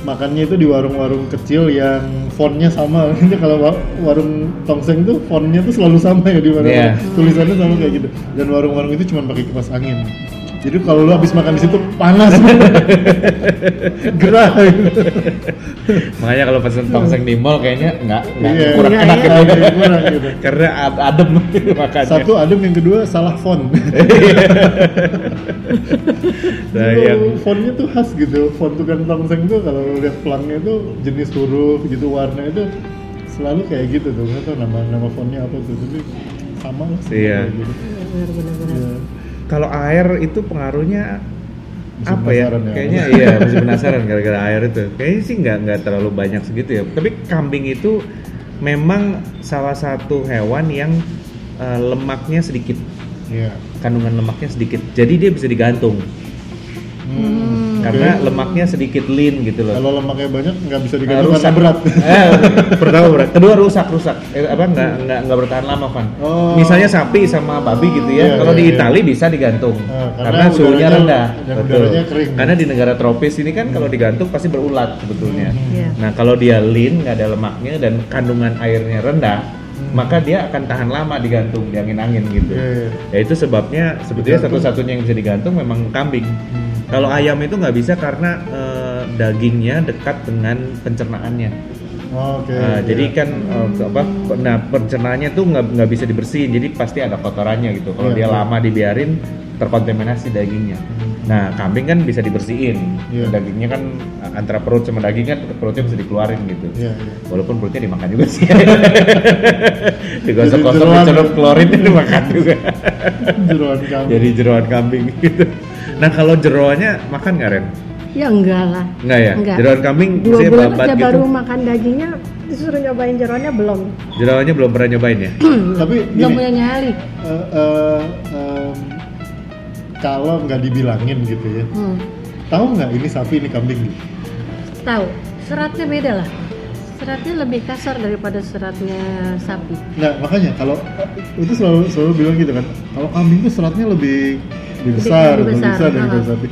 Speaker 1: makannya itu di warung-warung kecil yang fontnya sama Ini kalau wa- warung tongseng tuh fontnya tuh selalu sama ya di warung
Speaker 2: Iya.
Speaker 1: tulisannya sama kayak gitu dan warung-warung itu cuma pakai kipas angin Jadi kalau lu habis makan di situ panas, gerah. gitu.
Speaker 2: Makanya kalau pesen tongseng di mall kayaknya nggak nggak
Speaker 1: Iya,
Speaker 2: Nah, kurang
Speaker 3: iya,
Speaker 2: enak
Speaker 3: iya.
Speaker 2: gitu.
Speaker 1: Agak kurang gitu.
Speaker 2: Karena ad- adem makannya.
Speaker 1: Satu adem, yang kedua salah font.
Speaker 2: Iya. Nah,
Speaker 1: Itu
Speaker 2: yang
Speaker 1: fontnya tuh khas gitu. Font tukang tongseng tuh kalau lu lihat pelangnya tuh jenis huruf gitu, warna itu selalu kayak gitu tuh. Nggak tahu nama nama fontnya apa tuh, tapi sama lah. semua
Speaker 2: Iya.
Speaker 1: kayak gitu.
Speaker 3: benar-benar.
Speaker 1: Iya.
Speaker 2: kalau air itu pengaruhnya
Speaker 1: Masih
Speaker 2: apa ya?
Speaker 1: penasaran ya.
Speaker 2: Kayaknya iya masih penasaran gara-gara air itu. Kayaknya sih nggak nggak terlalu banyak segitu ya. Tapi kambing itu memang salah satu hewan yang eh, lemaknya sedikit,
Speaker 1: Iya.
Speaker 2: kandungan lemaknya sedikit. Jadi dia bisa digantung
Speaker 1: Hmm.
Speaker 2: karena lemaknya sedikit lean gitu loh.
Speaker 1: Kalau lemaknya banyak nggak bisa
Speaker 2: Eh,
Speaker 1: digantung karena berat.
Speaker 2: Eh, pertama berat. Kedua rusak rusak. Eh, apa nggak nggak nggak bertahan lama Van.
Speaker 1: Hmm. Oh.
Speaker 2: Misalnya sapi sama babi gitu ya.
Speaker 1: Iya,
Speaker 2: kalau
Speaker 1: iya,
Speaker 2: di
Speaker 1: iya.
Speaker 2: Itali bisa digantung.
Speaker 1: Eh,
Speaker 2: karena,
Speaker 1: karena
Speaker 2: suhunya
Speaker 1: udaranya-
Speaker 2: rendah.
Speaker 1: dan udaranya kering.
Speaker 2: Karena di negara tropis ini kan kalau digantung pasti berulat sebetulnya.
Speaker 1: Hmm.
Speaker 3: Iya.
Speaker 2: Nah kalau dia lean nggak ada lemaknya dan kandungan airnya rendah. Maka dia akan tahan lama digantung di angin-angin gitu.
Speaker 1: Hmm. Iya, iya.
Speaker 2: Ya itu sebabnya sebetulnya
Speaker 1: Digantung.
Speaker 2: satu-satunya yang bisa digantung memang kambing. Kalau ayam itu nggak bisa karena eh, dagingnya dekat dengan pencernaannya.
Speaker 1: Oke.
Speaker 2: Nah,
Speaker 1: iya.
Speaker 2: Jadi kan eh, apa? Nah pencernaannya tuh nggak nggak bisa dibersihin. Jadi pasti ada kotorannya gitu. Kalau
Speaker 1: Iya,
Speaker 2: dia
Speaker 1: iya.
Speaker 2: lama dibiarin terkontaminasi dagingnya. Nah kambing kan bisa dibersihin.
Speaker 1: Iya.
Speaker 2: Dagingnya kan eh, antara perut sama daging kan perutnya bisa dikeluarin gitu.
Speaker 1: Iya, iya.
Speaker 2: Walaupun perutnya dimakan juga sih.
Speaker 1: Jadi
Speaker 2: Digosok-gosok,
Speaker 1: jeroan.
Speaker 2: dicelup klorin dimakan juga.
Speaker 1: Jeroan kambing.
Speaker 2: Jadi jeroan kambing gitu. Nah kalau jeroannya makan nggak Ren?
Speaker 3: Ya enggak lah.
Speaker 2: Enggak ya?
Speaker 3: Enggak.
Speaker 2: Jeroan kambing
Speaker 3: Dua
Speaker 2: saya
Speaker 3: bulan
Speaker 2: babat
Speaker 3: aja
Speaker 2: gitu.
Speaker 3: baru makan dagingnya disuruh nyobain jeroannya belum.
Speaker 2: Jeroannya belum pernah nyobain ya?
Speaker 1: Tapi
Speaker 3: Belum
Speaker 1: gini,
Speaker 3: punya nyali.
Speaker 1: eh, eh, em, kalau nggak dibilangin gitu ya,
Speaker 3: Hmm.
Speaker 1: tahu nggak ini sapi ini kambing gitu?
Speaker 3: Tahu. Seratnya beda lah. Seratnya lebih kasar daripada seratnya sapi.
Speaker 1: Nah makanya kalau itu selalu selalu bilang gitu kan, kalau kambing tuh seratnya lebih lebih
Speaker 3: Lebih-
Speaker 1: besar,
Speaker 3: lebih
Speaker 1: lebih
Speaker 3: besar,
Speaker 1: besar daripada
Speaker 3: ah.
Speaker 1: sapi.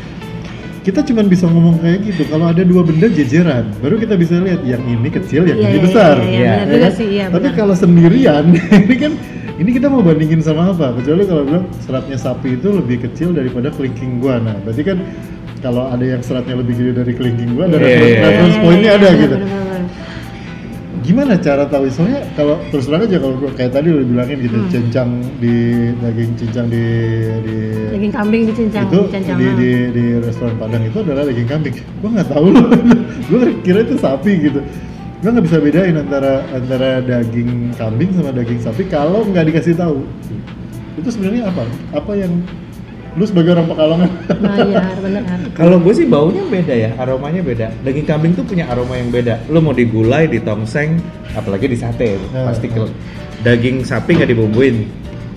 Speaker 1: Kita cuman bisa ngomong kayak gitu. Kalau ada dua benda jejeran, baru kita bisa lihat yang ini kecil, yang
Speaker 3: Iya,
Speaker 1: ini
Speaker 3: iya,
Speaker 1: besar.
Speaker 3: iya,
Speaker 2: iya,
Speaker 1: Ya
Speaker 3: benar juga
Speaker 1: kan?
Speaker 3: sih, iya,
Speaker 1: Tapi
Speaker 3: benar.
Speaker 1: kalau sendirian, ini kan ini kita mau bandingin sama apa? Kecuali kalau bilang seratnya sapi itu lebih kecil daripada kelingking gua. Nah, berarti kan kalau ada yang seratnya lebih gede dari kelingking gua, ada
Speaker 2: Iya,
Speaker 1: reference
Speaker 2: iya, iya.
Speaker 1: reference pointnya Nah, ada gitu
Speaker 3: Eh, benar-benar.
Speaker 1: gimana cara tahu soalnya kalau terus terang aja kalau gua kayak tadi udah bilangin gitu cincang di daging cincang di di
Speaker 3: Daging kambing dicincang,
Speaker 1: itu
Speaker 3: dicancangan.
Speaker 1: di, di di restoran Padang itu adalah daging kambing gua nggak tahu loh gua kira itu sapi gitu gua nggak bisa bedain antara antara daging kambing sama daging sapi kalau nggak dikasih tahu itu sebenarnya apa apa yang lu sebagai orang pekalongan
Speaker 3: Bayar, Oh, iya, benar.
Speaker 2: Kalau gue sih baunya beda ya, aromanya beda. Daging kambing tuh punya aroma yang beda. Lo mau digulai, di tongseng, apalagi di sate,
Speaker 3: Ah,
Speaker 1: Ya,
Speaker 2: pasti
Speaker 1: ya.
Speaker 2: kalau daging sapi nggak dibumbuin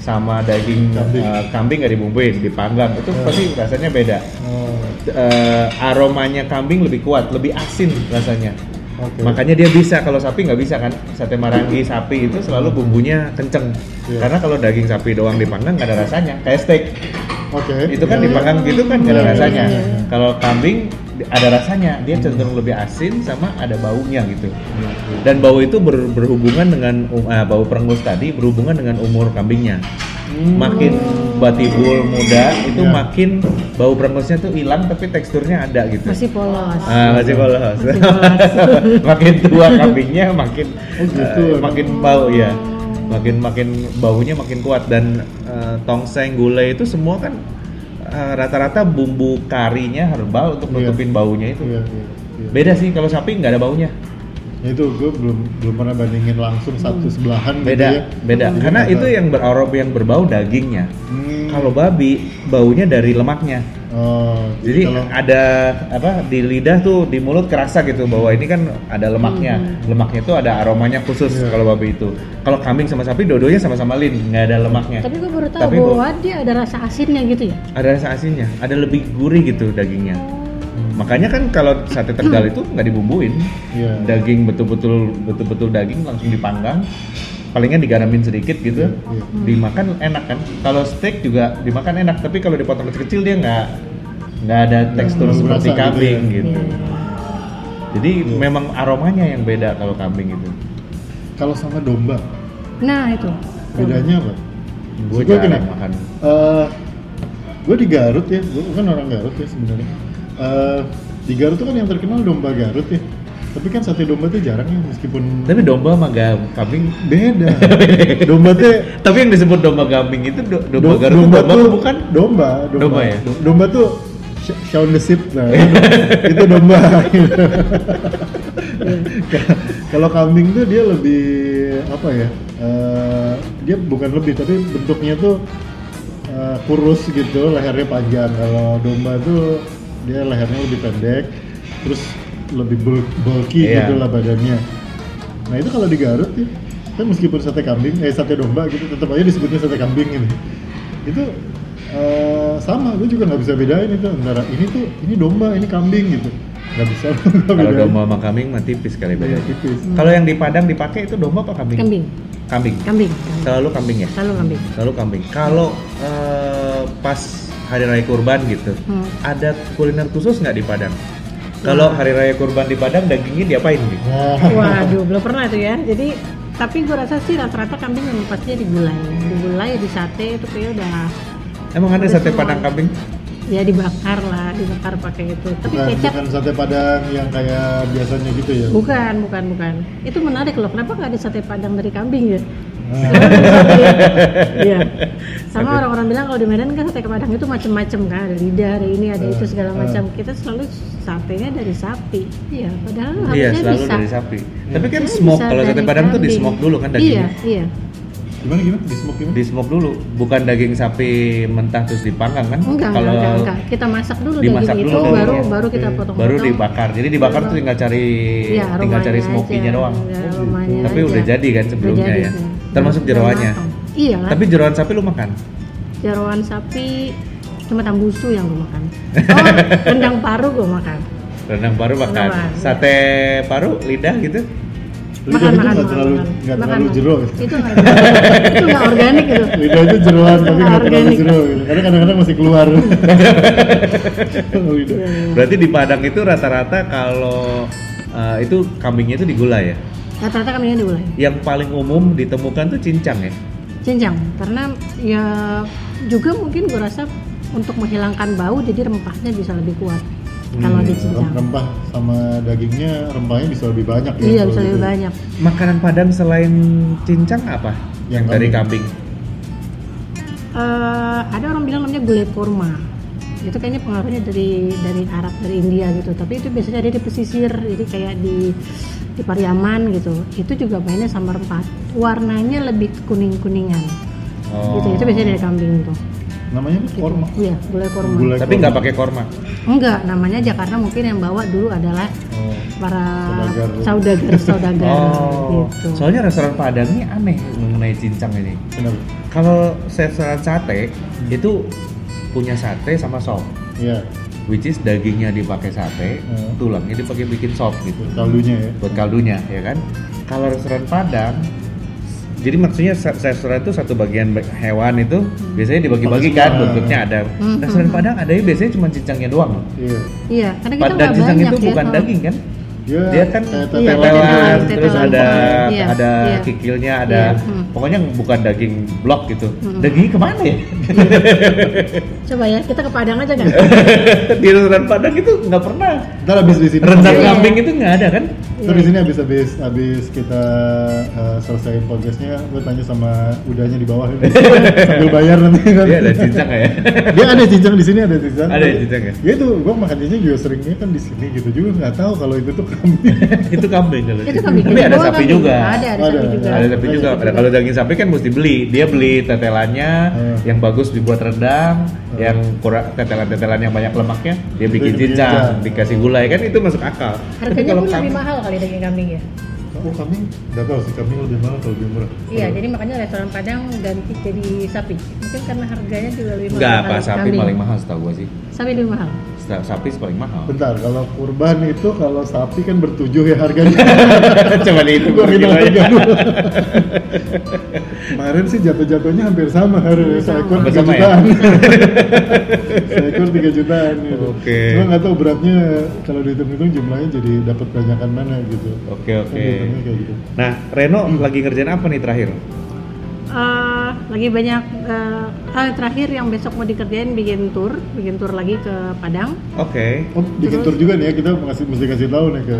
Speaker 2: sama daging
Speaker 1: Kambing.
Speaker 2: eh, kambing nggak dibumbuin, dipanggang itu
Speaker 3: Ah.
Speaker 1: Ya.
Speaker 2: pasti rasanya beda.
Speaker 1: oh,
Speaker 2: Eh, aromanya kambing lebih kuat, lebih asin rasanya.
Speaker 1: oke
Speaker 2: Iya. Makanya dia bisa kalau sapi nggak bisa kan. Sate marangi sapi itu selalu bumbunya kenceng.
Speaker 1: Iya.
Speaker 2: Karena kalau daging sapi doang dipanggang nggak ada rasanya. Kayak steak
Speaker 1: oke
Speaker 2: itu kan
Speaker 1: Iya, iya.
Speaker 2: dipanggang gitu kan nggak ada
Speaker 1: Iya, iya,
Speaker 2: rasanya.
Speaker 1: iya, iya.
Speaker 2: Kalau kambing di- ada rasanya, dia cenderung lebih asin sama ada baunya gitu. Dan bau itu ber- berhubungan dengan um- ah, bau perengus tadi berhubungan dengan umur kambingnya.
Speaker 1: Hmm.
Speaker 2: Makin batibul muda itu
Speaker 1: Oh. Iya.
Speaker 2: makin bau perengusnya tuh hilang tapi teksturnya ada gitu.
Speaker 3: Masih polos.
Speaker 2: Ah, masih polos.
Speaker 3: Masih polos.
Speaker 2: makin tua kambingnya makin
Speaker 1: Oh, gitu.
Speaker 2: eh, makin bau ya. Makin makin baunya makin kuat dan eh, tongseng gulai itu semua kan eh, rata-rata bumbu karinya herbal untuk
Speaker 1: Iya.
Speaker 2: nutupin baunya itu.
Speaker 1: Iya, iya, iya.
Speaker 2: Beda sih kalau sapi nggak ada baunya.
Speaker 1: Ya itu gue belum belum pernah bandingin langsung satu sebelahan gitu ya.
Speaker 2: Beda, beda.
Speaker 1: Jadi
Speaker 2: Karena
Speaker 1: nggak
Speaker 2: itu
Speaker 1: tahu.
Speaker 2: yang beraroma yang berbau dagingnya.
Speaker 1: Hmm.
Speaker 2: Kalau babi baunya dari lemaknya.
Speaker 1: oh,
Speaker 2: Jadi
Speaker 1: kalau
Speaker 2: ada apa di lidah tuh di mulut kerasa gitu bahwa ini kan ada lemaknya. Lemaknya tuh ada aromanya khusus
Speaker 1: Iya.
Speaker 2: kalau babi itu. Kalau kambing sama sapi dua-duanya sama-sama lin, nggak ada lemaknya.
Speaker 3: Tapi gue baru tahu
Speaker 2: Tapi gua-
Speaker 3: bahwa dia ada rasa asinnya gitu ya.
Speaker 2: Ada rasa asinnya, ada lebih gurih gitu dagingnya. Makanya kan kalau sate Tegal itu nggak dibumbuin.
Speaker 1: Iya.
Speaker 2: Daging betul-betul betul-betul daging langsung dipanggang. Palingan digaramin sedikit gitu.
Speaker 1: Iya.
Speaker 2: Dimakan enak kan. Kalau steak juga dimakan enak, tapi kalau dipotong kecil-kecil dia nggak nggak ada tekstur
Speaker 1: nggak
Speaker 2: seperti
Speaker 1: berasa gitu
Speaker 2: kambing
Speaker 1: ya.
Speaker 3: Iya.
Speaker 2: gitu. Jadi memang aromanya yang beda kalau kambing itu.
Speaker 1: kalau sama domba
Speaker 3: Nah itu.
Speaker 1: bedanya apa?
Speaker 2: Gue
Speaker 1: Gua
Speaker 2: jarang
Speaker 1: gini,
Speaker 2: makan.
Speaker 1: Eh, gue Gue di Garut ya, gue kan orang Garut ya sebenarnya. Eh, di Garut tuh kan yang terkenal domba Garut ya. Tapi kan sate domba tuh jarang ya meskipun
Speaker 2: Tapi domba sama gam- kambing
Speaker 1: beda. domba tuh
Speaker 2: Tapi yang disebut domba kambing itu do- domba
Speaker 1: do-
Speaker 2: garut itu domba
Speaker 1: tuh-
Speaker 2: bukan?
Speaker 1: domba, domba.
Speaker 2: Domba ya?
Speaker 1: Do- Domba tuh sh- Shaun the Sheep nah, itu, itu domba. Kalau kambing tuh dia lebih apa ya? eh, dia bukan lebih tapi bentuknya tuh eh, kurus gitu, lehernya panjang. Kalau domba tuh dia lehernya lebih pendek, terus lebih bul- bulky
Speaker 2: Iya.
Speaker 1: gitu lah badannya. Nah itu kalau di Garut ya, kan meskipun sate kambing, eh sate domba gitu, tetap aja disebutnya sate kambing gitu. Itu eh, sama, gue juga nggak bisa bedain itu antara ini tuh ini domba, ini kambing gitu, nggak bisa gua
Speaker 2: Kalau
Speaker 1: bedain.
Speaker 2: domba sama kambing mah tipis kali
Speaker 1: Iya,
Speaker 2: bedanya.
Speaker 1: tipis.
Speaker 2: Kalau yang di Padang dipakai itu domba apa kambing?
Speaker 3: Kambing,
Speaker 2: Kambing.
Speaker 3: kambing,
Speaker 2: Selalu kambing ya?
Speaker 3: selalu kambing.
Speaker 2: Selalu kambing. Kalau eh, pas hari raya kurban gitu,
Speaker 3: Hmm.
Speaker 2: ada kuliner khusus nggak di Padang? Kalau hari raya kurban di Padang dagingnya diapain gitu?
Speaker 1: Nah,
Speaker 3: Waduh, belum pernah tuh ya. Jadi tapi gue rasa sih rata-rata kambing memang pastinya digulai, digulai di sate itu kayak udah
Speaker 2: Emang ada
Speaker 3: Ada
Speaker 2: sate
Speaker 3: semua.
Speaker 2: Padang kambing?
Speaker 3: ya dibakar lah, dibakar pakai itu. Tapi
Speaker 2: Nah,
Speaker 1: bukan,
Speaker 3: kecap
Speaker 1: Nah, bukan sate padang yang kayak biasanya gitu ya.
Speaker 3: bukan, bukan, bukan. Itu menarik loh. Kenapa nggak ada sate padang dari kambing ya?
Speaker 1: Nah,
Speaker 3: Iya. Sama orang-orang bilang kalau di Medan kan sate padang itu macam-macam kan, ada lidah, ada ini,
Speaker 2: Nah,
Speaker 3: ada itu segala
Speaker 1: Eh,
Speaker 3: macam. Kita selalu satenya dari sapi. Iya, padahal
Speaker 2: Iya,
Speaker 3: harusnya
Speaker 2: selalu
Speaker 3: bisa.
Speaker 2: dari sapi. Tapi kan
Speaker 3: Harusnya
Speaker 2: smoke
Speaker 3: bisa
Speaker 2: kalau sate
Speaker 3: dari
Speaker 2: Padang tuh di
Speaker 3: kambing.
Speaker 2: smoke dulu kan
Speaker 3: Iya,
Speaker 2: dagingnya.
Speaker 3: iya.
Speaker 1: gimana gimana? Di smoke gimana?
Speaker 2: Di smoke dulu, bukan daging sapi mentah terus dipanggang kan?
Speaker 3: Enggak,
Speaker 2: Kalau
Speaker 3: enggak, enggak, enggak. Kita masak dulu
Speaker 2: dimasak
Speaker 3: daging
Speaker 2: dulu
Speaker 3: itu, baru
Speaker 2: dagingnya. Iya.
Speaker 3: baru kita potong-potong.
Speaker 2: baru dibakar. Jadi dibakar tuh
Speaker 3: Baru-
Speaker 2: tinggal cari
Speaker 3: Iya,
Speaker 2: tinggal cari
Speaker 3: aromanya
Speaker 2: smokinya
Speaker 3: aja.
Speaker 2: doang. Oh, gitu.
Speaker 3: Iya, aromanya
Speaker 2: Tapi
Speaker 3: aja.
Speaker 2: udah jadi kan sebelumnya
Speaker 3: Udah jadi
Speaker 2: ya?
Speaker 3: sih.
Speaker 2: Termasuk
Speaker 3: Udah
Speaker 2: jeroannya?
Speaker 3: matang. Iya. lah.
Speaker 2: Tapi jeroan sapi lu makan?
Speaker 3: jeroan sapi cuma tambusu yang gue makan. Oh, rendang paru gue makan.
Speaker 2: Rendang paru makan.
Speaker 3: Makan.
Speaker 2: Sate paru, lidah gitu.
Speaker 1: Lidah itu
Speaker 3: Makan, makan,
Speaker 1: nggak
Speaker 3: makan,
Speaker 1: terlalu
Speaker 3: makan.
Speaker 1: nggak
Speaker 3: Makan,
Speaker 1: terlalu
Speaker 3: makan.
Speaker 1: jeruk. gitu.
Speaker 3: Itu nggak organik. itu nggak organik gitu.
Speaker 1: lidah itu jeruan tapi
Speaker 3: Nggak
Speaker 1: nggak terlalu
Speaker 3: organik.
Speaker 1: jeruk gitu. karena kadang-kadang masih keluar lidah
Speaker 3: Iya, iya.
Speaker 2: Berarti di Padang itu rata-rata kalau eh, itu kambingnya itu digulai ya.
Speaker 3: Rata-rata kan kambingnya digulai.
Speaker 2: Yang paling umum ditemukan tuh cincang ya.
Speaker 3: Cincang, karena ya juga mungkin gue rasa untuk menghilangkan bau jadi rempahnya bisa lebih kuat kalau di cincang.
Speaker 1: Iya, rempah sama dagingnya rempahnya bisa lebih banyak ya
Speaker 3: Iya
Speaker 1: kalau
Speaker 3: bisa
Speaker 1: gitu.
Speaker 3: lebih banyak.
Speaker 2: Makanan Padang selain cincang apa? Yang,
Speaker 1: Yang
Speaker 2: dari
Speaker 1: kambing.
Speaker 2: kambing.
Speaker 3: Eh, ada orang bilang namanya gulai kurma. Itu kayaknya pengaruhnya dari dari Arab dari India gitu. Tapi itu biasanya ada di pesisir, jadi kayak di di Pariaman gitu. Itu juga mainnya sama rempah. Warnanya lebih kuning kuningan.
Speaker 2: Oh.
Speaker 3: Gitu. Itu biasanya dari kambing tuh.
Speaker 1: namanya apa?
Speaker 3: Gitu.
Speaker 1: korma
Speaker 3: Iya gulai kurma.
Speaker 1: Gulai.
Speaker 2: Tapi nggak pakai korma.
Speaker 3: Enggak, namanya Jakarta mungkin yang bawa dulu adalah
Speaker 1: oh.
Speaker 3: para
Speaker 1: Saudagar.
Speaker 3: saudagar saudagar
Speaker 2: Oh,
Speaker 3: gitu.
Speaker 2: soalnya restoran Padang ini aneh mengenai cincang ini.
Speaker 1: kenapa?
Speaker 2: Kalau restoran sate itu punya sate sama sop,
Speaker 1: iya
Speaker 2: which is dagingnya dipakai sate,
Speaker 1: Hmm.
Speaker 2: tulangnya dipakai bikin sop gitu
Speaker 1: kaldunya ya
Speaker 2: buat kaldunya ya kan. Kalau restoran Padang jadi maksudnya sa- restoran itu satu bagian ba- hewan itu biasanya dibagi-bagi kan
Speaker 1: Maksudnya.
Speaker 2: bentuknya ada. Nah,
Speaker 3: Hmm,
Speaker 2: Restoran
Speaker 3: hmm,
Speaker 2: Padang adanya biasanya cuma cincangnya doang. loh.
Speaker 1: iya
Speaker 3: Iya, karena kita
Speaker 2: Dan
Speaker 3: nggak
Speaker 2: cincang
Speaker 3: banyak
Speaker 2: itu
Speaker 3: ya
Speaker 2: bukan
Speaker 3: kalau-
Speaker 2: daging kan?
Speaker 1: Iya,
Speaker 2: dia kan
Speaker 1: kayak
Speaker 3: Iya,
Speaker 1: tetelan.
Speaker 2: tetelan,
Speaker 3: tetelan,
Speaker 2: terus
Speaker 3: tetelan.
Speaker 2: ada
Speaker 3: Iya,
Speaker 2: ada
Speaker 3: iya.
Speaker 2: kikilnya ada
Speaker 3: Iya, hmm.
Speaker 2: pokoknya bukan daging blok gitu
Speaker 3: Hmm.
Speaker 2: dagingnya kemana ya
Speaker 3: Coba ya, kita ke Padang aja kan?
Speaker 2: di restoran Padang itu nggak pernah
Speaker 1: ntar habis di sini
Speaker 2: rendang ya.
Speaker 3: Iya.
Speaker 2: kambing itu nggak ada kan
Speaker 1: Terus di sini habis habis habis kita eh, selesaiin podcastnya, gue tanya sama udahnya di bawah ini. sambil bayar nanti kan.
Speaker 2: dia ada cincang nggak ya
Speaker 1: dia ada cincang di sini ada cincang
Speaker 2: Ada ya cincang ya?
Speaker 1: itu gua makan cincang juga seringnya kan di sini gitu juga nggak tahu kalau itu tuh kambing
Speaker 2: itu kambing kalau
Speaker 3: itu
Speaker 2: cincang.
Speaker 3: kambing
Speaker 2: tapi ada
Speaker 3: kedua,
Speaker 2: sapi
Speaker 3: kambing
Speaker 2: juga
Speaker 3: kedua. Ada, ada,
Speaker 1: Ada,
Speaker 3: sapi
Speaker 1: ada.
Speaker 3: juga.
Speaker 2: ada sapi
Speaker 1: Ada
Speaker 2: juga
Speaker 1: sapi
Speaker 2: Ada- kalau daging sapi kan mesti beli dia beli tetelannya
Speaker 1: Hmm.
Speaker 2: yang bagus dibuat rendang
Speaker 1: Hmm.
Speaker 2: yang kurang tetelan-tetelan yang banyak lemaknya dia bikin
Speaker 1: bikin cincang.
Speaker 2: cincang dikasih gulai kan itu masuk akal Tapi
Speaker 3: Harganya
Speaker 2: kalau
Speaker 3: pun lebih
Speaker 2: kambing-
Speaker 3: mahal kali daging kambing ya.
Speaker 1: oh kambing nggak tahu sih kambing lebih mahal kalau lebih murah
Speaker 3: Iya, jadi makanya restoran Padang ganti jadi sapi. Mungkin karena harganya juga lebih mahal.
Speaker 2: Enggak,
Speaker 3: kali
Speaker 2: apa sapi
Speaker 3: kambing.
Speaker 2: paling mahal setahu gua sih.
Speaker 3: Sapi lebih mahal.
Speaker 2: Sa- Sapi paling mahal.
Speaker 1: bentar kalau kurban itu kalau sapi kan bertujuh ya harganya
Speaker 2: Coba itu
Speaker 1: Gua hitung harga dulu. kemarin sih jatuh-jatuhnya hampir sama harganya seekor
Speaker 2: Hampir
Speaker 1: 3
Speaker 2: sama ya?
Speaker 1: jutaan seekor 3 jutaan gitu
Speaker 2: Oke.
Speaker 1: cuma nggak tahu beratnya kalau dihitung-hitung jumlahnya jadi dapat banyakan mana gitu
Speaker 2: Oke,
Speaker 1: Kan
Speaker 2: oke.
Speaker 1: dihitungnya kayak gitu
Speaker 2: Nah, Reno lagi ngerjain apa nih terakhir?
Speaker 3: Eh, lagi banyak eh, ah, terakhir yang besok mau dikerjain bikin tour, bikin tour lagi ke Padang.
Speaker 2: Oke.
Speaker 1: Oh, bikin tour juga nih ya, kita ngasih, mesti kasih tahu nih ke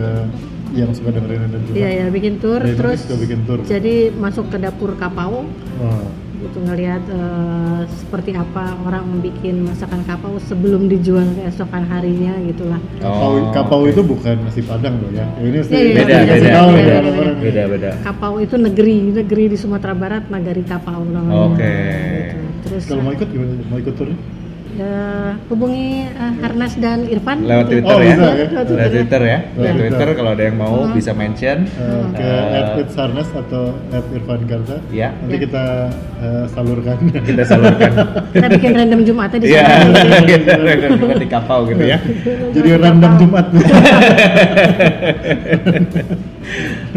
Speaker 1: yang suka dengerin dan juga.
Speaker 3: Iya ya bikin tour
Speaker 1: Dari
Speaker 3: terus
Speaker 1: Indonesia bikin tour.
Speaker 3: jadi masuk ke dapur kapau
Speaker 1: Wah,
Speaker 3: gitu ngelihat eh, seperti apa orang bikin masakan kapau sebelum dijual keesokan harinya gitulah.
Speaker 1: Kapau,
Speaker 2: Oh,
Speaker 1: kapau
Speaker 2: oke.
Speaker 1: itu bukan nasi padang loh ya. Ini mesti
Speaker 3: Iya, iya,
Speaker 2: Beda,
Speaker 1: dikasih
Speaker 2: beda,
Speaker 1: tahu nih
Speaker 2: beda,
Speaker 1: orang-orang. ya.
Speaker 2: Beda beda.
Speaker 3: Kapau itu negeri, negeri di Sumatera Barat, nagari kapau namanya.
Speaker 2: Oke.
Speaker 3: Gitu. Terus
Speaker 1: Kalau mau ikut gimana? Mau ikut tournya?
Speaker 3: eh, hubungi eh, Harnas dan Irfan
Speaker 2: Lewat
Speaker 3: gitu.
Speaker 2: Twitter
Speaker 1: Oh,
Speaker 2: ya.
Speaker 1: bisa ya?
Speaker 3: Lewat Twitter
Speaker 2: Lewat
Speaker 3: ya.
Speaker 2: Twitter ya. Lewat
Speaker 1: Iya.
Speaker 2: Twitter kalau ada yang mau
Speaker 3: Iya.
Speaker 2: bisa mention.
Speaker 1: Eh, ke
Speaker 2: Eh.
Speaker 1: at It's Harness atau at Irfan Garza.
Speaker 2: Iya.
Speaker 1: Nanti
Speaker 3: Iya.
Speaker 1: kita eh, salurkan.
Speaker 2: Kita salurkan.
Speaker 3: Kita bikin random Jumatnya di
Speaker 2: Iya.
Speaker 3: sana.
Speaker 2: Kita bukan di kapau gitu ya.
Speaker 1: Jadi random Jumat.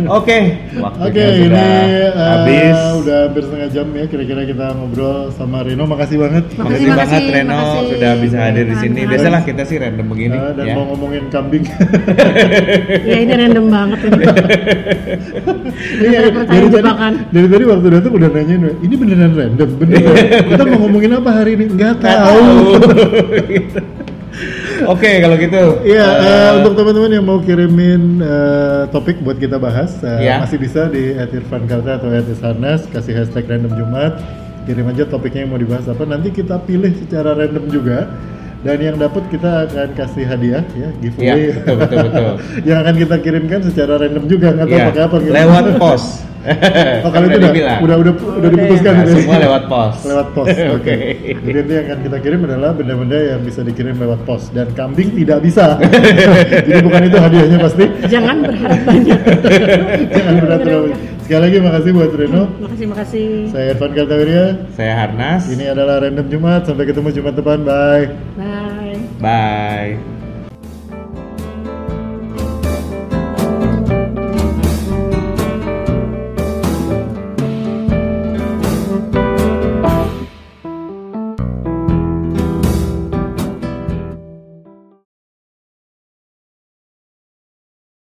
Speaker 2: Oke. Waktunya
Speaker 1: Oke, ini
Speaker 2: sudah
Speaker 1: eh,
Speaker 2: habis.
Speaker 1: udah hampir setengah jam ya kira-kira kita ngobrol sama Reno. Makasih banget.
Speaker 2: Makasih,
Speaker 3: Makasih,
Speaker 2: banget
Speaker 3: makasih,
Speaker 2: Reno
Speaker 3: makasih.
Speaker 2: sudah bisa hadir di
Speaker 3: Makasih.
Speaker 2: sini. Biasalah kita sih random begini
Speaker 1: Eh, dan
Speaker 2: ya.
Speaker 1: mau ngomongin kambing.
Speaker 3: ya ini random banget ini.
Speaker 1: Iya, dari
Speaker 3: Pertanyaan
Speaker 1: tadi,
Speaker 3: jebakan.
Speaker 1: dari tadi waktu datang udah nanyain, ini beneran random, beneran. kita mau ngomongin apa hari ini? Nggak
Speaker 2: Nggak
Speaker 1: tahu.
Speaker 2: Gitu. Oke, kalau gitu.
Speaker 1: Iya,
Speaker 2: eh,
Speaker 1: eh, untuk teman-teman yang mau kirimin eh, topik buat kita bahas, eh,
Speaker 2: Iya.
Speaker 1: masih bisa di @irfankarta atau @isanas kasih hashtag random Jumat, kirim aja topiknya yang mau dibahas apa, nanti kita pilih secara random juga. Dan yang dapat kita akan kasih hadiah ya
Speaker 2: Iya,
Speaker 1: giveaway
Speaker 2: betul betul betul.
Speaker 1: yang akan kita kirimkan secara random juga nggak tahu
Speaker 2: Iya,
Speaker 1: pakai apa gitu.
Speaker 2: lewat pos.
Speaker 1: Oh, kalau itu udah,
Speaker 2: dibilang.
Speaker 1: udah udah udah diputuskan
Speaker 2: Nah,
Speaker 1: itu ya?
Speaker 2: semua lewat pos.
Speaker 1: lewat pos.
Speaker 2: Oke.
Speaker 1: Oke. Jadi nanti yang akan kita kirim adalah benda-benda yang bisa dikirim lewat pos dan kambing tidak bisa. Jadi bukan itu hadiahnya pasti.
Speaker 3: Jangan berharap banyak.
Speaker 1: Jangan berat terlalu. Sekali lagi makasih buat Reno.
Speaker 3: Makasih, makasih.
Speaker 1: Saya Irfan Kartawirya.
Speaker 2: Saya Harnas.
Speaker 1: Ini adalah Random Jumat. Sampai ketemu Jumat depan. Bye.
Speaker 3: Bye.
Speaker 2: Bye.